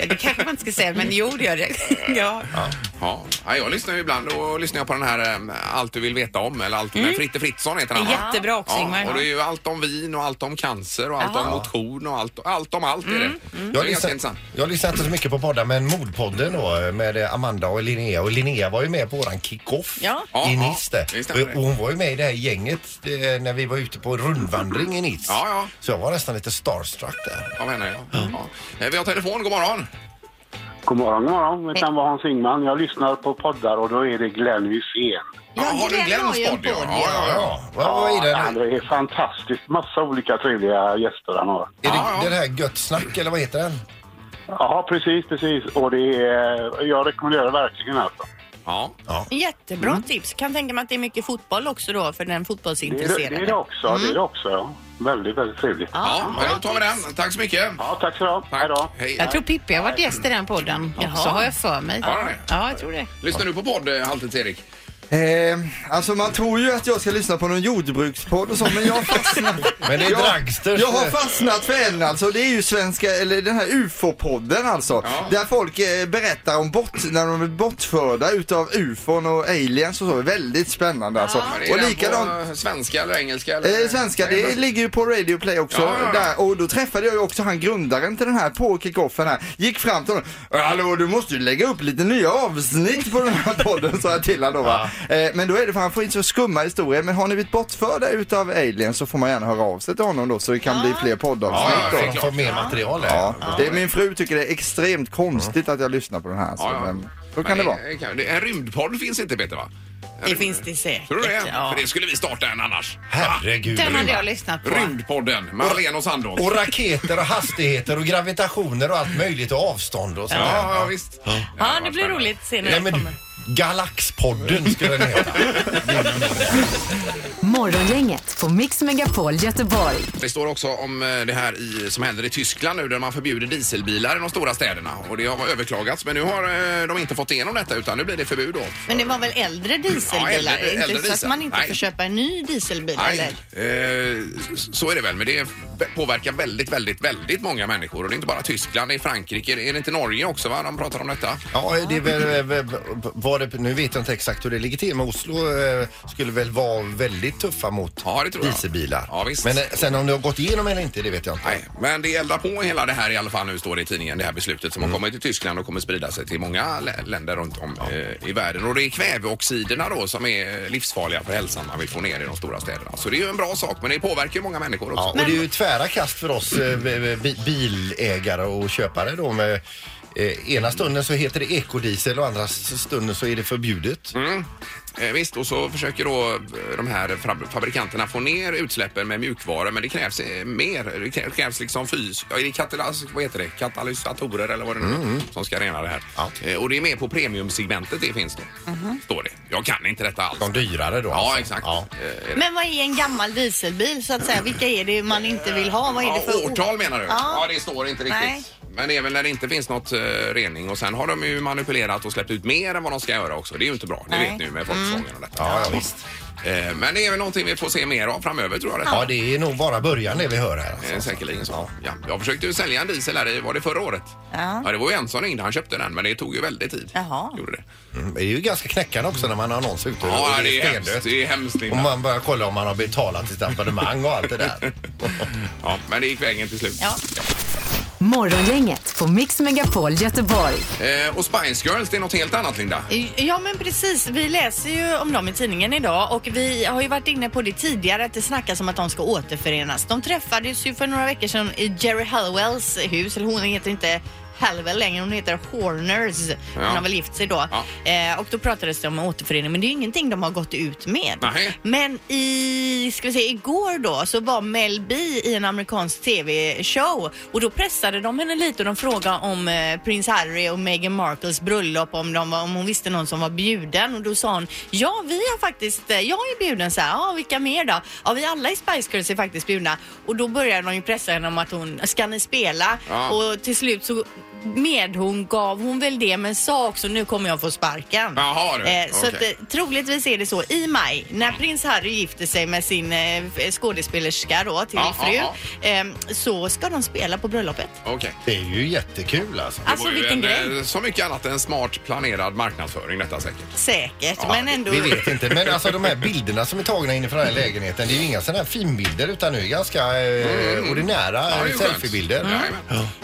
Speaker 7: det kanske man inte ska säga, men jo det gör det. <laughs> Ja.
Speaker 1: Ja, ja jag lyssnar ju ibland och lyssnar jag på den här ehm, Allt du vill veta om eller allt med Fritte Fritzson heter han va?
Speaker 7: Jättebra också,
Speaker 1: ja,
Speaker 7: Ingmar.
Speaker 1: Och det är ju allt om vin och allt om cancer och allt om motion och allt, allt om allt är det. Det
Speaker 3: Jag
Speaker 1: är ganska
Speaker 3: lyssnar,
Speaker 1: intressant.
Speaker 3: jag lyssnar inte så mycket på poddar men Mordpodden då med eh, Amanda och Linnea och Linnea var ju med på våran kick-off
Speaker 2: Ja.
Speaker 1: Ja,
Speaker 3: i
Speaker 1: ja,
Speaker 3: Nice där.
Speaker 1: det stämmer.
Speaker 3: och, och hon var ju med i det här gänget eh, när vi var ute på rundvandring i Nice.
Speaker 1: Ja, ja.
Speaker 3: Så jag var nästan lite starstruck där.
Speaker 1: Av henne, ja. Ja. Eh, Vi har telefon, god morgon.
Speaker 9: God morgon, god morgon. Mitt namn var Hans Ingman. Jag lyssnar på poddar och då är det Glenn Hysén.
Speaker 1: Ja, har du
Speaker 2: Glenn har ju
Speaker 1: Glenns
Speaker 2: en
Speaker 1: podd? Ja,
Speaker 2: podd,
Speaker 1: ja, ja. ja.
Speaker 3: Ja, vad vad är det?
Speaker 9: Ja,
Speaker 3: nu?
Speaker 9: det är fantastiskt. Massa olika trevliga gäster han har.
Speaker 3: Är det,
Speaker 1: Ja, ja.
Speaker 3: det här Gött snack eller vad heter den?
Speaker 9: Ja, precis, precis. Och det är, jag rekommenderar det verkligen alltså.
Speaker 1: ja.
Speaker 2: Jättebra tips. Kan tänka mig att det är mycket fotboll också då för den
Speaker 9: Det är det,
Speaker 2: fotbollsintresserade.
Speaker 9: det, är det också. Det är det också, ja. Väldigt, väldigt trevligt. Ja,
Speaker 1: ja. men då tar vi den. Tack så mycket.
Speaker 9: tack så du
Speaker 1: Tack.
Speaker 9: Hej då.
Speaker 1: Hej.
Speaker 7: Jag tror Pippi har varit gäst i den podden också, har jag för mig.
Speaker 1: Har han det?
Speaker 7: Ja, jag tror det.
Speaker 1: Lyssnar du på podd, eh, Halvtids-Erik?
Speaker 8: Eh, alltså man tror ju att jag ska lyssna på någon jordbrukspodd och så, men jag har fastnat.
Speaker 3: Men det är
Speaker 8: jag,
Speaker 3: Dragsters. eh,
Speaker 8: jag har fastnat för en alltså. Det är ju svenska, eller den här UFO-podden alltså.
Speaker 1: Ja.
Speaker 8: Där folk eh, berättar om bort, när de är bortförda utav UFOn och aliens och så. Väldigt spännande alltså.
Speaker 1: Är
Speaker 8: Och
Speaker 1: den
Speaker 8: likadant.
Speaker 1: på, eh, Svenska eller engelska? Eller?
Speaker 8: Eh, svenska, det ligger ju på Radio Play också.
Speaker 1: Ja, ja, ja.
Speaker 8: Där, och då träffade jag ju också han grundaren till den här på kickoffen här. Gick fram till honom. "Eh, Hallå, du måste ju lägga upp lite nya avsnitt på den här podden, sa jag till honom då va. Eh, men då är det för han får inte så skumma historier. Men har ni blivit bortförda utav aliens så får man gärna höra av sig till honom då så det kan bli fler
Speaker 3: Ja,
Speaker 8: poddavsnitt
Speaker 3: ja,
Speaker 8: då.
Speaker 3: ja, de får mer material här.
Speaker 8: Ja, det, min fru tycker det är extremt konstigt att jag lyssnar på den här. Så,
Speaker 1: Ja, ja.
Speaker 8: Men, så kan det
Speaker 1: Nej,
Speaker 8: vara.
Speaker 1: eh, kan- det- En rymdpodd finns inte, Peter, va?
Speaker 2: Det finns det säkert.
Speaker 1: Tror du det?
Speaker 2: Ja.
Speaker 1: För det skulle vi starta en annars.
Speaker 3: Herregud.
Speaker 7: Den hade jag lyssnat på.
Speaker 1: Rymdpodden med Hallén och Sandås.
Speaker 3: Och raketer och hastigheter och gravitationer och allt möjligt och avstånd och sådär.
Speaker 1: Ja, ja, visst.
Speaker 2: Ja, det blir roligt att se när
Speaker 3: Nej,
Speaker 2: jag
Speaker 3: men
Speaker 2: kommer.
Speaker 3: Galaxpodden skulle den heta.
Speaker 4: Morgongänget på Mix Megapol Göteborg.
Speaker 1: Det står också om eh, det här i, som händer i Tyskland nu där man förbjuder dieselbilar i de stora städerna. Och det har överklagats men nu har eh, de inte fått igenom detta utan nu blir det förbud då.
Speaker 2: Men det var väl äldre dieselbilar?
Speaker 1: Ja, äldre-
Speaker 2: inte
Speaker 1: äldre
Speaker 2: så att
Speaker 1: diesel.
Speaker 2: man inte
Speaker 1: Nej.
Speaker 2: får köpa en ny dieselbil eller?
Speaker 1: Nej, eh, s- så är det väl. Men det påverkar väldigt, väldigt, väldigt många människor. Och det är inte bara Tyskland, det är Frankrike. Är det inte Norge också? Va? De pratar om detta.
Speaker 3: <laughs> Ja, det är väl, väl- var det, nu vet jag inte exakt hur det ligger till, men Oslo eh, skulle väl vara väldigt tuffa mot
Speaker 1: Ja, det tror jag.
Speaker 3: dieselbilar.
Speaker 1: Ja, visst.
Speaker 3: Men eh, sen om det har gått igenom eller inte, det vet jag inte.
Speaker 1: Nej, men det eldar på hela det här i alla fall nu står det i tidningen det här beslutet som
Speaker 3: Mm.
Speaker 1: har kommit till Tyskland och kommer sprida sig till många lä- länder runt om eh, i världen. Och det är kväveoxiderna då som är livsfarliga för hälsan man vill få ner i de stora städerna. Så det är ju en bra sak men det påverkar ju många människor
Speaker 3: Ja,
Speaker 1: också.
Speaker 3: och det är ju tvära kast för oss eh, bi- bi- bilägare och köpare då med eh, Ena stunden så heter det ekodiesel och andra s- stunden så är det förbjudet.
Speaker 1: Eh, visst, och så försöker då eh, de här fab- fabrikanterna få ner utsläppen med mjukvaror men det krävs eh, mer. Det krä- krävs liksom fys... Ja, är det katalys- vad heter det? katalysatorer eller vad det nu är som ska rena det här.
Speaker 3: Mm. Ja. Mhm.
Speaker 1: Eh, och det är med på premiumsegmentet det finns då. Står det. Jag kan inte detta alls.
Speaker 3: De dyrare då.
Speaker 1: Ja,
Speaker 3: alltså.
Speaker 1: exakt.
Speaker 3: Ja.
Speaker 1: Eh,
Speaker 2: Men vad är en gammal dieselbil så att säga? Vilka är det man inte vill ha? Vad är
Speaker 1: Ja,
Speaker 2: det för
Speaker 1: årtal menar du? Ja.
Speaker 2: Ja.
Speaker 1: det står inte riktigt.
Speaker 2: Nej.
Speaker 1: Men det är väl när det inte finns något eh, rening och sen har de ju manipulerat och släppt ut mer än vad de ska göra också. Det är ju inte bra. Ni
Speaker 2: Nej. Mm.
Speaker 1: vet nu med Volkswagen och detta.
Speaker 3: Ja, ja, visst.
Speaker 1: Eh, Men det är väl någonting vi får se mer av framöver tror jag. detta.
Speaker 3: Ja, det är nog bara början det vi hör här. Alltså.
Speaker 1: Eh, Säkerligen så. Ja. Jag försökte ju sälja en diesel här, i- var det förra året? Ja. det var ju en som ringde, han köpte den men det tog ju väldigt tid.
Speaker 2: Jaha.
Speaker 1: Gjorde det.
Speaker 3: Mm, Det är ju ganska knäckande också när man har annons ute
Speaker 1: Ja,
Speaker 3: och
Speaker 1: det är hemskt.
Speaker 3: stendött.
Speaker 1: Det är hemskt
Speaker 3: Och
Speaker 1: Linda.
Speaker 3: man börjar kolla om man har betalat sitt abonnemang och allt det där.
Speaker 1: Ja, men det gick vägen till slut.
Speaker 2: Ja.
Speaker 4: Morgongänget på Mix Megapol Göteborg.
Speaker 1: Eh, och Spice Girls, det är något helt annat Linda.
Speaker 2: Ja men precis, vi läser ju om dem i tidningen idag och vi har ju varit inne på det tidigare att det snackas om att de ska återförenas. De träffades ju för några veckor sedan i Jerry Hallwells hus, eller hon heter inte Halvel längre. Hon heter Horners. Hon
Speaker 1: Ja.
Speaker 2: har väl gift sig då.
Speaker 1: Ja.
Speaker 2: Eh, och då pratades det om återförening, men det är ju ingenting de har gått ut med.
Speaker 1: Nej.
Speaker 2: Men i, ska vi se, igår då så var Mel B i en amerikansk TV-show och då pressade de henne lite och de frågade om eh, prins Harry och Meghan Markles bröllop, om, de var, om hon visste någon som var bjuden och då sa hon ja vi har faktiskt, eh, jag är bjuden så här, ja vilka mer då? Ja vi alla i Spice Girls är faktiskt bjudna och då började de ju pressa henne om att hon, ska ni spela?
Speaker 1: Ja.
Speaker 2: Och till slut så med hon gav hon väl det men sa också nu kommer jag få sparken.
Speaker 1: Jaha, du.
Speaker 2: Eh, så
Speaker 1: Okej.
Speaker 2: att, eh, troligtvis är det så i maj när prins Harry gifter sig med sin eh, f- skådespelerska då till
Speaker 1: Ja,
Speaker 2: fru
Speaker 1: ja,
Speaker 2: eh, så ska de spela på bröllopet.
Speaker 1: Okej.
Speaker 3: Det är ju jättekul alltså.
Speaker 1: Det
Speaker 2: Alltså
Speaker 1: var ju
Speaker 2: vilken
Speaker 1: en,
Speaker 2: grej.
Speaker 1: eh, Så mycket annat än smart planerad marknadsföring detta säkert.
Speaker 2: Säkert
Speaker 1: Ja,
Speaker 2: men ändå.
Speaker 3: Vi vet inte, men alltså de här bilderna som är tagna inifrån den här lägenheten, det är ju inga sådana här finbilder utan det är ganska eh, ordinära
Speaker 1: Mm, Ja, det är
Speaker 3: eh,
Speaker 1: ju skönt. Mm.
Speaker 3: selfiebilder.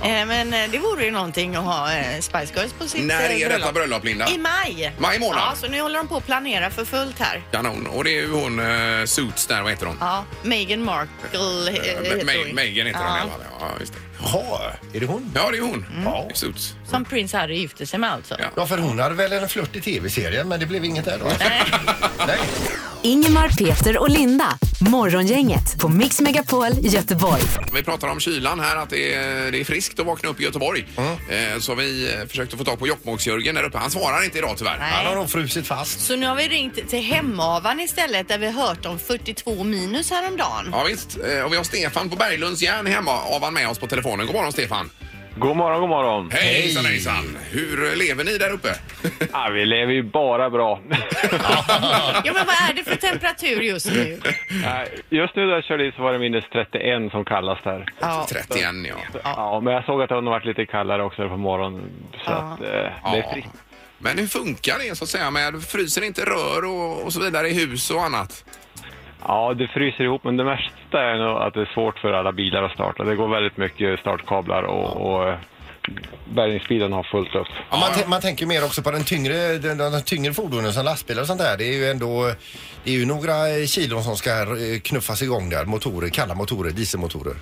Speaker 1: Jajamän.
Speaker 2: Eh, men eh, det vore ju någonting att ha eh, Spice Girls på sitt
Speaker 1: När
Speaker 2: eh,
Speaker 1: är detta bröllop, Linda?
Speaker 2: I maj.
Speaker 1: Maj månad.
Speaker 2: Ja så nu håller de på att planera för fullt här.
Speaker 1: Kanon. Och det är ju hon, eh, Suits där, vad heter hon?
Speaker 2: Ja, Meghan Markle eh,
Speaker 1: Eh,
Speaker 2: heter
Speaker 1: Ma-
Speaker 2: hon.
Speaker 1: Megan heter hon i alla fall. Ja, just det.
Speaker 3: Jaha, är det hon?
Speaker 1: Mm. Ja, det är hon.
Speaker 3: Ja.
Speaker 1: Suits.
Speaker 2: Som prins Harry gifte sig med alltså.
Speaker 1: Ja.
Speaker 3: Ja, för hon hade väl en flört i tv-serien men det blev inget där då. Nej.
Speaker 4: Ingemar, Peter och Linda. Morgongänget på Mix Megapol Göteborg.
Speaker 1: Vi pratar om kylan här, att det är, det är friskt att vakna upp i Göteborg. Eh, Så vi eh, försökte få tag på Jokkmokks-Jörgen där uppe. Han svarar inte idag tyvärr.
Speaker 2: Nej.
Speaker 3: Han har nog frusit fast.
Speaker 2: Så nu har vi ringt till Hemavan istället där vi hört om 42 minus häromdagen.
Speaker 1: Ja, visst. Eh, Och vi har Stefan på Berglunds järn hemma av han med oss på telefonen. God morgon Stefan!
Speaker 10: God morgon, god morgon.
Speaker 1: Hej. Hejsan hejsan! Hur lever ni där uppe?
Speaker 10: Ah, vi lever ju bara bra. <laughs>
Speaker 2: Ja, men vad är det för temperatur just nu?
Speaker 10: Nej, Just nu där jag körde i så var det minus 31 som kallas där.
Speaker 2: Ja.
Speaker 1: 31 ja.
Speaker 10: Ja, men jag såg att det har nog varit lite kallare också på morgonen. Så
Speaker 2: Ja.
Speaker 10: att, eh, det är fritt.
Speaker 1: Men hur funkar det så att säga med fryser inte rör och, och så vidare i hus och annat?
Speaker 10: Ja, det fryser ihop, men det värsta är nog att det är svårt för alla bilar att starta. Det går väldigt mycket startkablar och, och eh, bärgningsbilen har fullt upp.
Speaker 3: Ja, man, tän- man tänker mer också på den tyngre, den, de tyngre fordonen som lastbilar och sånt där. Det är ju ändå det är ju några eh, kilon som ska eh, knuffas igång där. Motorer, kalla motorer, dieselmotorer.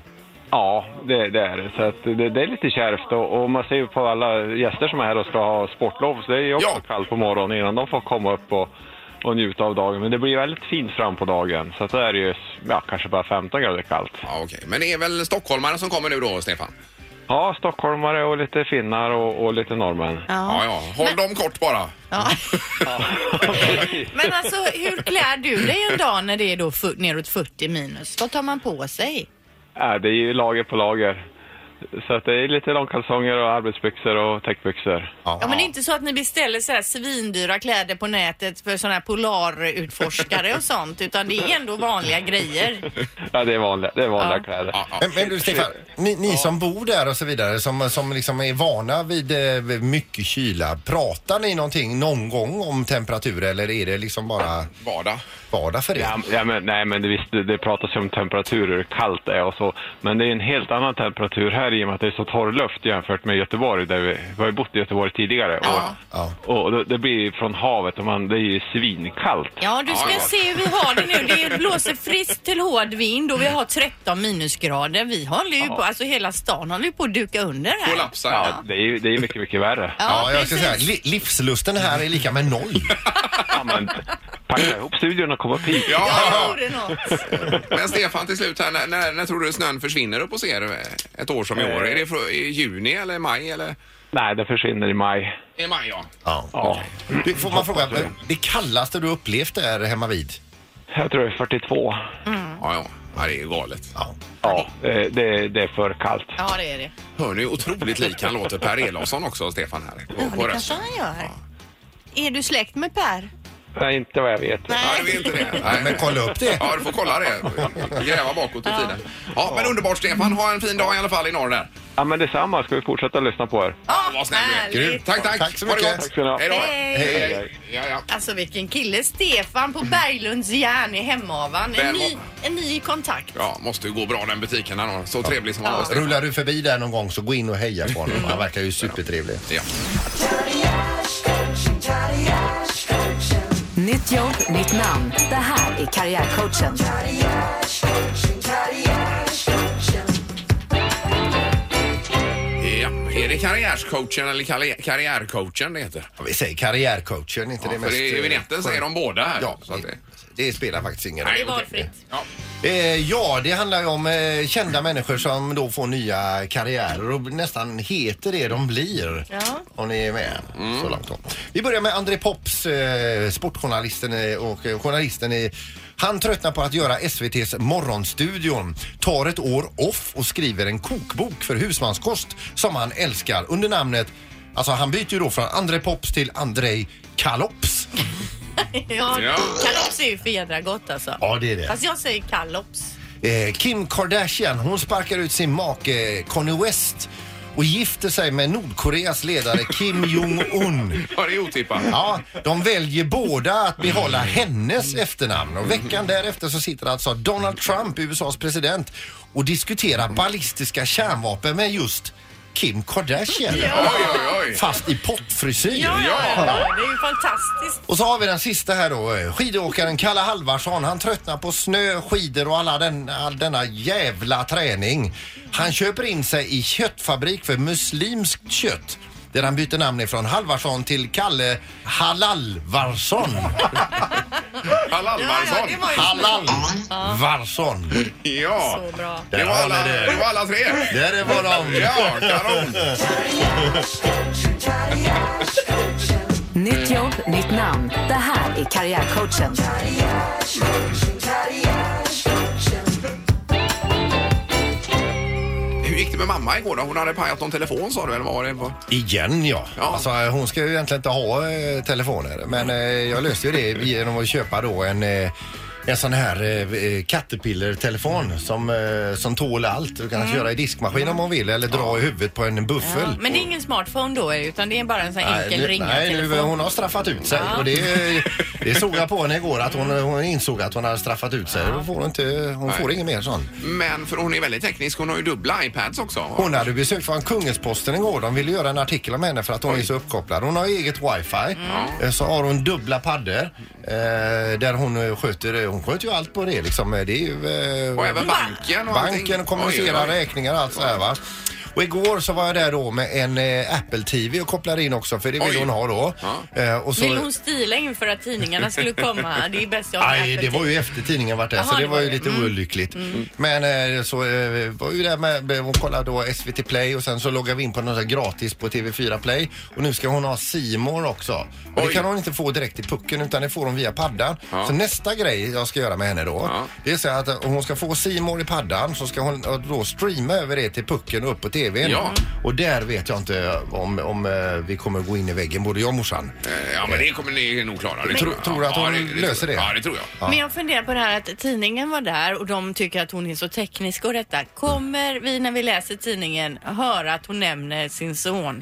Speaker 10: Ja, det, det är det. Så att det, det är lite kärvt och, och man ser ju på alla gäster som är här och ska ha sportlov så det är ju också
Speaker 1: Ja.
Speaker 10: kallt på morgonen innan de får komma upp och, och njuta av dagen. Men det blir väldigt fint fram på dagen så att det är det ju ja, kanske bara 15 grader kallt.
Speaker 1: Ja, okej. Men det är väl stockholmare som kommer nu då Stefan?
Speaker 10: Ja, stockholmare och lite finnar och, och lite norrmän.
Speaker 1: Ja, ja. Håll dem kort bara.
Speaker 2: Ja. Men alltså, hur klär du dig en dag när det är då fu- neråt 40 minus? Vad tar man på sig?
Speaker 10: <laughs> Ja, det är ju lager på lager. Så att det är lite långkalsonger och arbetsbyxor och täckbyxor.
Speaker 1: <laughs>
Speaker 2: Ja, men det är inte så att ni beställer så här svindyra kläder på nätet för sådana här polarutforskare och sånt, utan det är ändå vanliga grejer.
Speaker 10: Ja, det är vanliga, det är vanliga kläder.
Speaker 1: Ja, ja.
Speaker 3: Men, men du Stefan, ni, ni som bor där och så vidare, som, som liksom är vana vid eh, vid mycket kyla, pratar ni någonting någon gång om temperatur eller är det liksom bara
Speaker 1: Vardag.
Speaker 3: vardag för
Speaker 10: Ja,
Speaker 3: er?
Speaker 10: ja, men, nej, men det, visst, det, det pratas ju om temperaturer, hur kallt det är och så. Men det är en helt annan temperatur här i och med att det är så torr luft jämfört med Göteborg. Där vi, vi har ju bott i Göteborg tidigare. Och,
Speaker 3: Ja.
Speaker 10: och det, det blir ju från havet och man, det är ju svinkallt.
Speaker 2: Ja, du ska
Speaker 1: Ja, ja.
Speaker 2: se hur vi har det nu. Det blåser friskt till hård vind och vi har 13 minusgrader. Vi håller ju på, alltså hela stan håller ju på att duka under här.
Speaker 1: Kollapsar.
Speaker 10: Ja, det är ju det är ju mycket, mycket värre.
Speaker 3: Ja, jag ska
Speaker 2: precis.
Speaker 3: säga, li, livslusten här är lika med noll.
Speaker 10: Ja, men, packa ihop studion och kom upp hit.
Speaker 1: Ja,
Speaker 2: Ja,
Speaker 1: ja.
Speaker 2: det vore något.
Speaker 1: Men Stefan till slut här, när, när, när tror du snön försvinner upp hos er eh, ett år som i år? Är det fr- i juni eller maj eller?
Speaker 10: Nej, det försvinner i maj.
Speaker 1: I maj ja.
Speaker 3: Ja.
Speaker 10: Ja,
Speaker 3: Du, får man fråga, det kallaste du upplevt är hemma vid?
Speaker 10: jag tror det är 42.
Speaker 1: Ja, ja. ja det är ju galet.
Speaker 3: Ja.
Speaker 10: Ja, eh, det, det är för kallt.
Speaker 2: Ja, det är det.
Speaker 1: Hör ni hur otroligt lik han låter Per Elofsson också, Stefan här. På,
Speaker 2: Ja,
Speaker 1: på
Speaker 2: det kanske
Speaker 1: rösten.
Speaker 2: han gör. Är du släkt med Per?
Speaker 10: Nej, inte vad jag vet.
Speaker 1: Nej, det är inte det. Nej,
Speaker 3: Men kolla upp det.
Speaker 1: Ja, du får kolla det. Gräva bakåt i tiden. Ja, men underbart Stefan. Ha en fin dag i alla fall i norr där.
Speaker 10: Ja, men detsamma. Ska vi fortsätta lyssna på er?
Speaker 1: Ja, vad snäll du är.
Speaker 2: härligt.
Speaker 1: Tack, tack.
Speaker 3: Tack så
Speaker 1: Ha det
Speaker 3: mycket.
Speaker 1: gott.
Speaker 10: Tack ska ni ha.
Speaker 1: Hej då.
Speaker 2: Hej.
Speaker 1: Hej, hej. Ja, ja.
Speaker 2: Alltså vilken kille. Stefan på Berglunds järn i Hemavan. En
Speaker 1: Väl-
Speaker 2: ny, en ny kontakt.
Speaker 1: Ja, måste ju gå bra den butiken han har. Så trevlig som han var. Stefan.
Speaker 3: Rullar du förbi där någon gång så gå in och heja på honom. Han verkar ju supertrevlig.
Speaker 1: Ja.
Speaker 4: Nytt jobb, nytt namn. Det här är Karriärcoachen.
Speaker 1: ja, Erik karriärscoachen eller karri- karriärcoachen det heter?
Speaker 3: Vi säger karriärcoachen, inte
Speaker 1: Ja,
Speaker 3: det
Speaker 1: för
Speaker 3: mest...
Speaker 1: i- i vignetten
Speaker 3: eh,
Speaker 1: säger de båda här.
Speaker 3: Ja,
Speaker 1: Så att
Speaker 3: det,
Speaker 1: det-
Speaker 3: det spelar faktiskt ingen roll.
Speaker 1: Nej, okej.
Speaker 3: Eh, ja, det handlar ju om eh, kända människor som då får nya karriärer och nästan heter det de blir.
Speaker 2: Ja.
Speaker 3: Om ni är med så långt då. Vi börjar med André Pops, eh, sportjournalisten eh, och eh, journalisten i han tröttnar på att göra SVTs Morgonstudion, tar ett år off och skriver en kokbok för husmanskost som han älskar under namnet, alltså han byter ju då från André Pops till Andrei Kalops.
Speaker 2: Ja,
Speaker 3: Ja.
Speaker 2: Kalops är ju för jädra gott alltså.
Speaker 3: Ja, det är det.
Speaker 2: Fast jag säger Kalops.
Speaker 3: Eh, Kim Kardashian hon sparkar ut sin make eh, Kanye West och gifter sig med Nordkoreas ledare
Speaker 2: <laughs>
Speaker 3: Kim Jong-Un.
Speaker 1: Ja, det är otippat.
Speaker 3: Ja, de väljer båda att behålla hennes efternamn och veckan därefter så sitter alltså Donald Trump, USAs president, och diskuterar ballistiska kärnvapen med just Kim Kardashian.
Speaker 2: Ja. Oj,
Speaker 1: oj, oj.
Speaker 3: Fast i pottfrisyr.
Speaker 2: Ja, ja. ja, det är ju fantastiskt.
Speaker 3: Och så har vi den sista här då. Skidåkaren Kalle Halvarsson. Han tröttnar på snö, skidor och alla den, all denna jävla träning. Han köper in sig i köttfabrik för muslimskt kött. Där han byter namn ifrån Halvarsson till Kalle Halalvarsson.
Speaker 1: Halalvarsson.
Speaker 2: det var ju
Speaker 3: Halal.
Speaker 2: snyggt. Ja.
Speaker 3: Varsson.
Speaker 1: Ja,
Speaker 2: Så bra.
Speaker 1: det var, alla, det var alla tre.
Speaker 3: Där det var de.
Speaker 1: Ja, kanon.
Speaker 4: Nytt jobb, nytt namn. Det här är Karriärcoachen.
Speaker 1: Hur gick det med mamma igår då? Hon hade pajat någon telefon sa du eller vad var det? Vad-
Speaker 3: Igen ja. Alltså, hon ska ju egentligen inte ha eh, telefoner men eh, jag löste ju det genom att köpa då en eh, en sån här eh,
Speaker 2: Mm.
Speaker 3: Caterpillar-telefon som, eh, som tål allt. Du kan köra i diskmaskin om man vill eller dra i huvudet på en buffel.
Speaker 2: Ja, men det är ingen smartphone då utan det är bara en sån här enkel
Speaker 3: nu- nej
Speaker 2: ringartelefon.
Speaker 3: nu, hon har straffat ut sig.
Speaker 2: Ja.
Speaker 3: Och det, det såg jag på henne igår att hon, hon insåg att hon hade straffat ut sig. Hon får, inte, hon får ingen mer sån.
Speaker 1: Men för hon är väldigt teknisk, hon har ju dubbla iPads också.
Speaker 3: Hon hade besök från Kungensposten igår. De ville göra en artikel om henne för att hon är så uppkopplad. Hon har eget wifi.
Speaker 1: Mm.
Speaker 3: Eh, Så har hon dubbla paddor eh, där hon eh, sköter, hon sköter ju allt på det liksom. Eh, Det är ju... eh,
Speaker 1: Och även banken och allting.
Speaker 3: banken och kommunicera
Speaker 1: Oj, oj, oj.
Speaker 3: räkningar och allt så här va. Och igår så var jag där då med en eh, Apple TV och kopplade in också för det vill
Speaker 1: Oj.
Speaker 3: hon ha då. Eh, och så,
Speaker 2: Vill hon stila inför att tidningarna skulle komma?
Speaker 3: <laughs>
Speaker 2: Det är bäst jag har
Speaker 3: Nej,
Speaker 2: Apple
Speaker 3: det var
Speaker 2: TV.
Speaker 3: ju efter tidningen vart det,
Speaker 2: Jaha,
Speaker 3: så det
Speaker 2: det
Speaker 3: var
Speaker 2: var
Speaker 3: ju
Speaker 2: det.
Speaker 3: lite
Speaker 2: Mm.
Speaker 3: olyckligt. Men eh, så eh, var ju där med, hon kollade då SVT Play och sen så loggade vi in på något så här gratis på TV4 Play och nu ska hon ha Simor också. Och det
Speaker 1: Oj.
Speaker 3: kan hon inte få direkt i pucken utan det får hon via paddan.
Speaker 1: Ja.
Speaker 3: Så nästa grej jag ska göra med henne då,
Speaker 1: Ja.
Speaker 3: det är så här att eh, om hon ska få Simor i paddan så ska hon eh, då streama över det till pucken och upp på TVn.
Speaker 1: Ja.
Speaker 3: Och där vet jag inte om, om eh, vi kommer gå in i väggen både jag och morsan.
Speaker 1: Eh, Ja, men det kommer ni nog klara. Det
Speaker 3: Men-
Speaker 1: jag.
Speaker 3: Tror du att
Speaker 1: Ja,
Speaker 3: hon
Speaker 1: tror
Speaker 3: löser
Speaker 1: jag.
Speaker 3: det?
Speaker 1: Ja, det tror jag.
Speaker 2: Men jag funderar på det här att tidningen var där och de tycker att hon är så teknisk och detta. Kommer vi när vi läser tidningen höra att hon nämner sin son?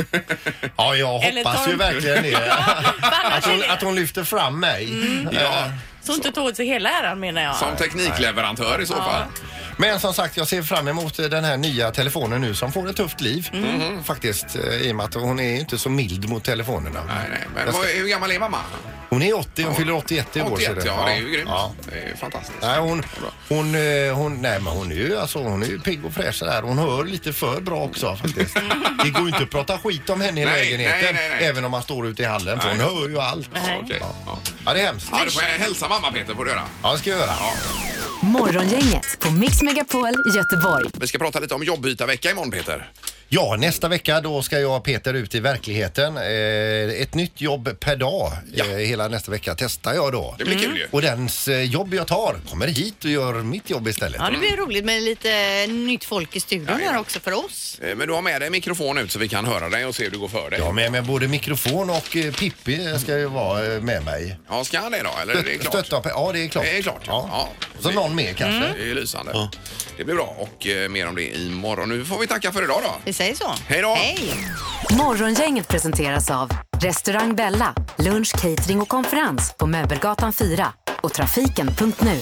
Speaker 3: Ja, jag
Speaker 2: Eller
Speaker 3: hoppas
Speaker 2: tar-
Speaker 3: ju
Speaker 1: <laughs>
Speaker 3: verkligen det.
Speaker 2: annars
Speaker 3: att, hon,
Speaker 2: är det-
Speaker 3: att hon lyfter fram mig. Eh,
Speaker 1: Ja,
Speaker 2: Så hon inte tog åt sig hela äran menar jag.
Speaker 1: som teknikleverantör i så fall.
Speaker 3: Men som sagt, jag ser fram emot den här nya telefonen nu som får ett tufft liv.
Speaker 1: Mm.
Speaker 3: Faktiskt, eh, i och med att hon är inte så mild mot telefonerna.
Speaker 1: Nej, nej. Men
Speaker 3: Jag ska-
Speaker 1: vad- hur gammal är mamma?
Speaker 3: Hon är 80, hon fyller 81 i år. ser
Speaker 1: 81,
Speaker 3: du.
Speaker 1: ja. Det är ju grymt.
Speaker 3: Ja.
Speaker 1: Det är ju fantastiskt.
Speaker 3: Nej, hon, hon, eh, hon, nej, men hon är ju alltså, hon är ju pigg och fräsch där. Hon hör lite för bra också faktiskt. Det går ju inte att prata skit om henne i
Speaker 1: Mm. Nej, nej,
Speaker 3: lägenheten.
Speaker 1: nej, nej.
Speaker 3: Även om man står ute i hallen. För hon
Speaker 1: Nej.
Speaker 3: hör ju allt.
Speaker 2: Nej.
Speaker 1: Okej. Ja.
Speaker 3: Ja, det är hemskt.
Speaker 1: Ja, du får hälsa mamma Peter får du göra.
Speaker 3: Ja, det ska jag göra.
Speaker 4: Morgongänget på Mix Megapol Göteborg.
Speaker 1: Vi ska prata lite om jobbbytarvecka imorgon Peter.
Speaker 3: Ja, nästa vecka då ska jag och Peter ut i verkligheten. Eh, ett nytt jobb per dag eh, hela nästa vecka testar jag då.
Speaker 1: Det blir kul ju.
Speaker 3: Och dens eh, jobb jag tar kommer hit och gör mitt jobb istället.
Speaker 2: Ja, det blir roligt med lite nytt folk i studion här också för oss.
Speaker 1: Eh, Men du har med dig mikrofon ut så vi kan höra dig och se hur du går för dig.
Speaker 3: Ja, men, men både mikrofon och eh, Pippi ska ju vara eh, med mig.
Speaker 1: Ja, ska han det då? Eller är det klart?
Speaker 3: Stötta, Pe- ja, det är klart.
Speaker 1: Det är klart, ja. Ja.
Speaker 3: Så någon mer kanske.
Speaker 1: Det är lysande. Det blir bra och eh, mer om det imorgon. Nu får vi tacka för idag då.
Speaker 2: Vi säger så.
Speaker 1: Hej då!
Speaker 2: Hej!
Speaker 4: Morgongänget presenteras av Restaurang Bella, lunch, catering och konferens på Möbelgatan 4 och Trafiken.nu.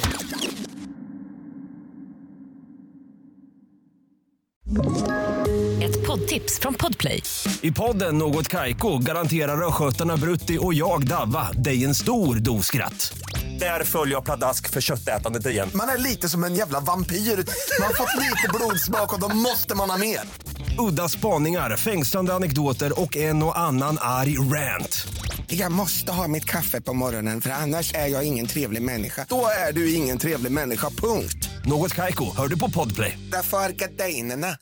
Speaker 4: Ett poddtips från Podplay.
Speaker 11: I podden Något Kaiko garanterar östgötarna Brutti och jag, Davva, dig en stor dos skratt.
Speaker 10: Där följer jag pladask för köttätandet igen.
Speaker 8: Man är lite som en jävla vampyr. Man har fått lite blodsmak och då måste man ha mer.
Speaker 10: Udda spaningar, fängslande anekdoter och en och annan arg rant.
Speaker 8: Jag måste ha mitt kaffe på morgonen för annars är jag ingen trevlig människa. Då är du ingen trevlig människa, punkt.
Speaker 10: Något kajko, hör du på podplay.
Speaker 8: Därför arkadeinerna.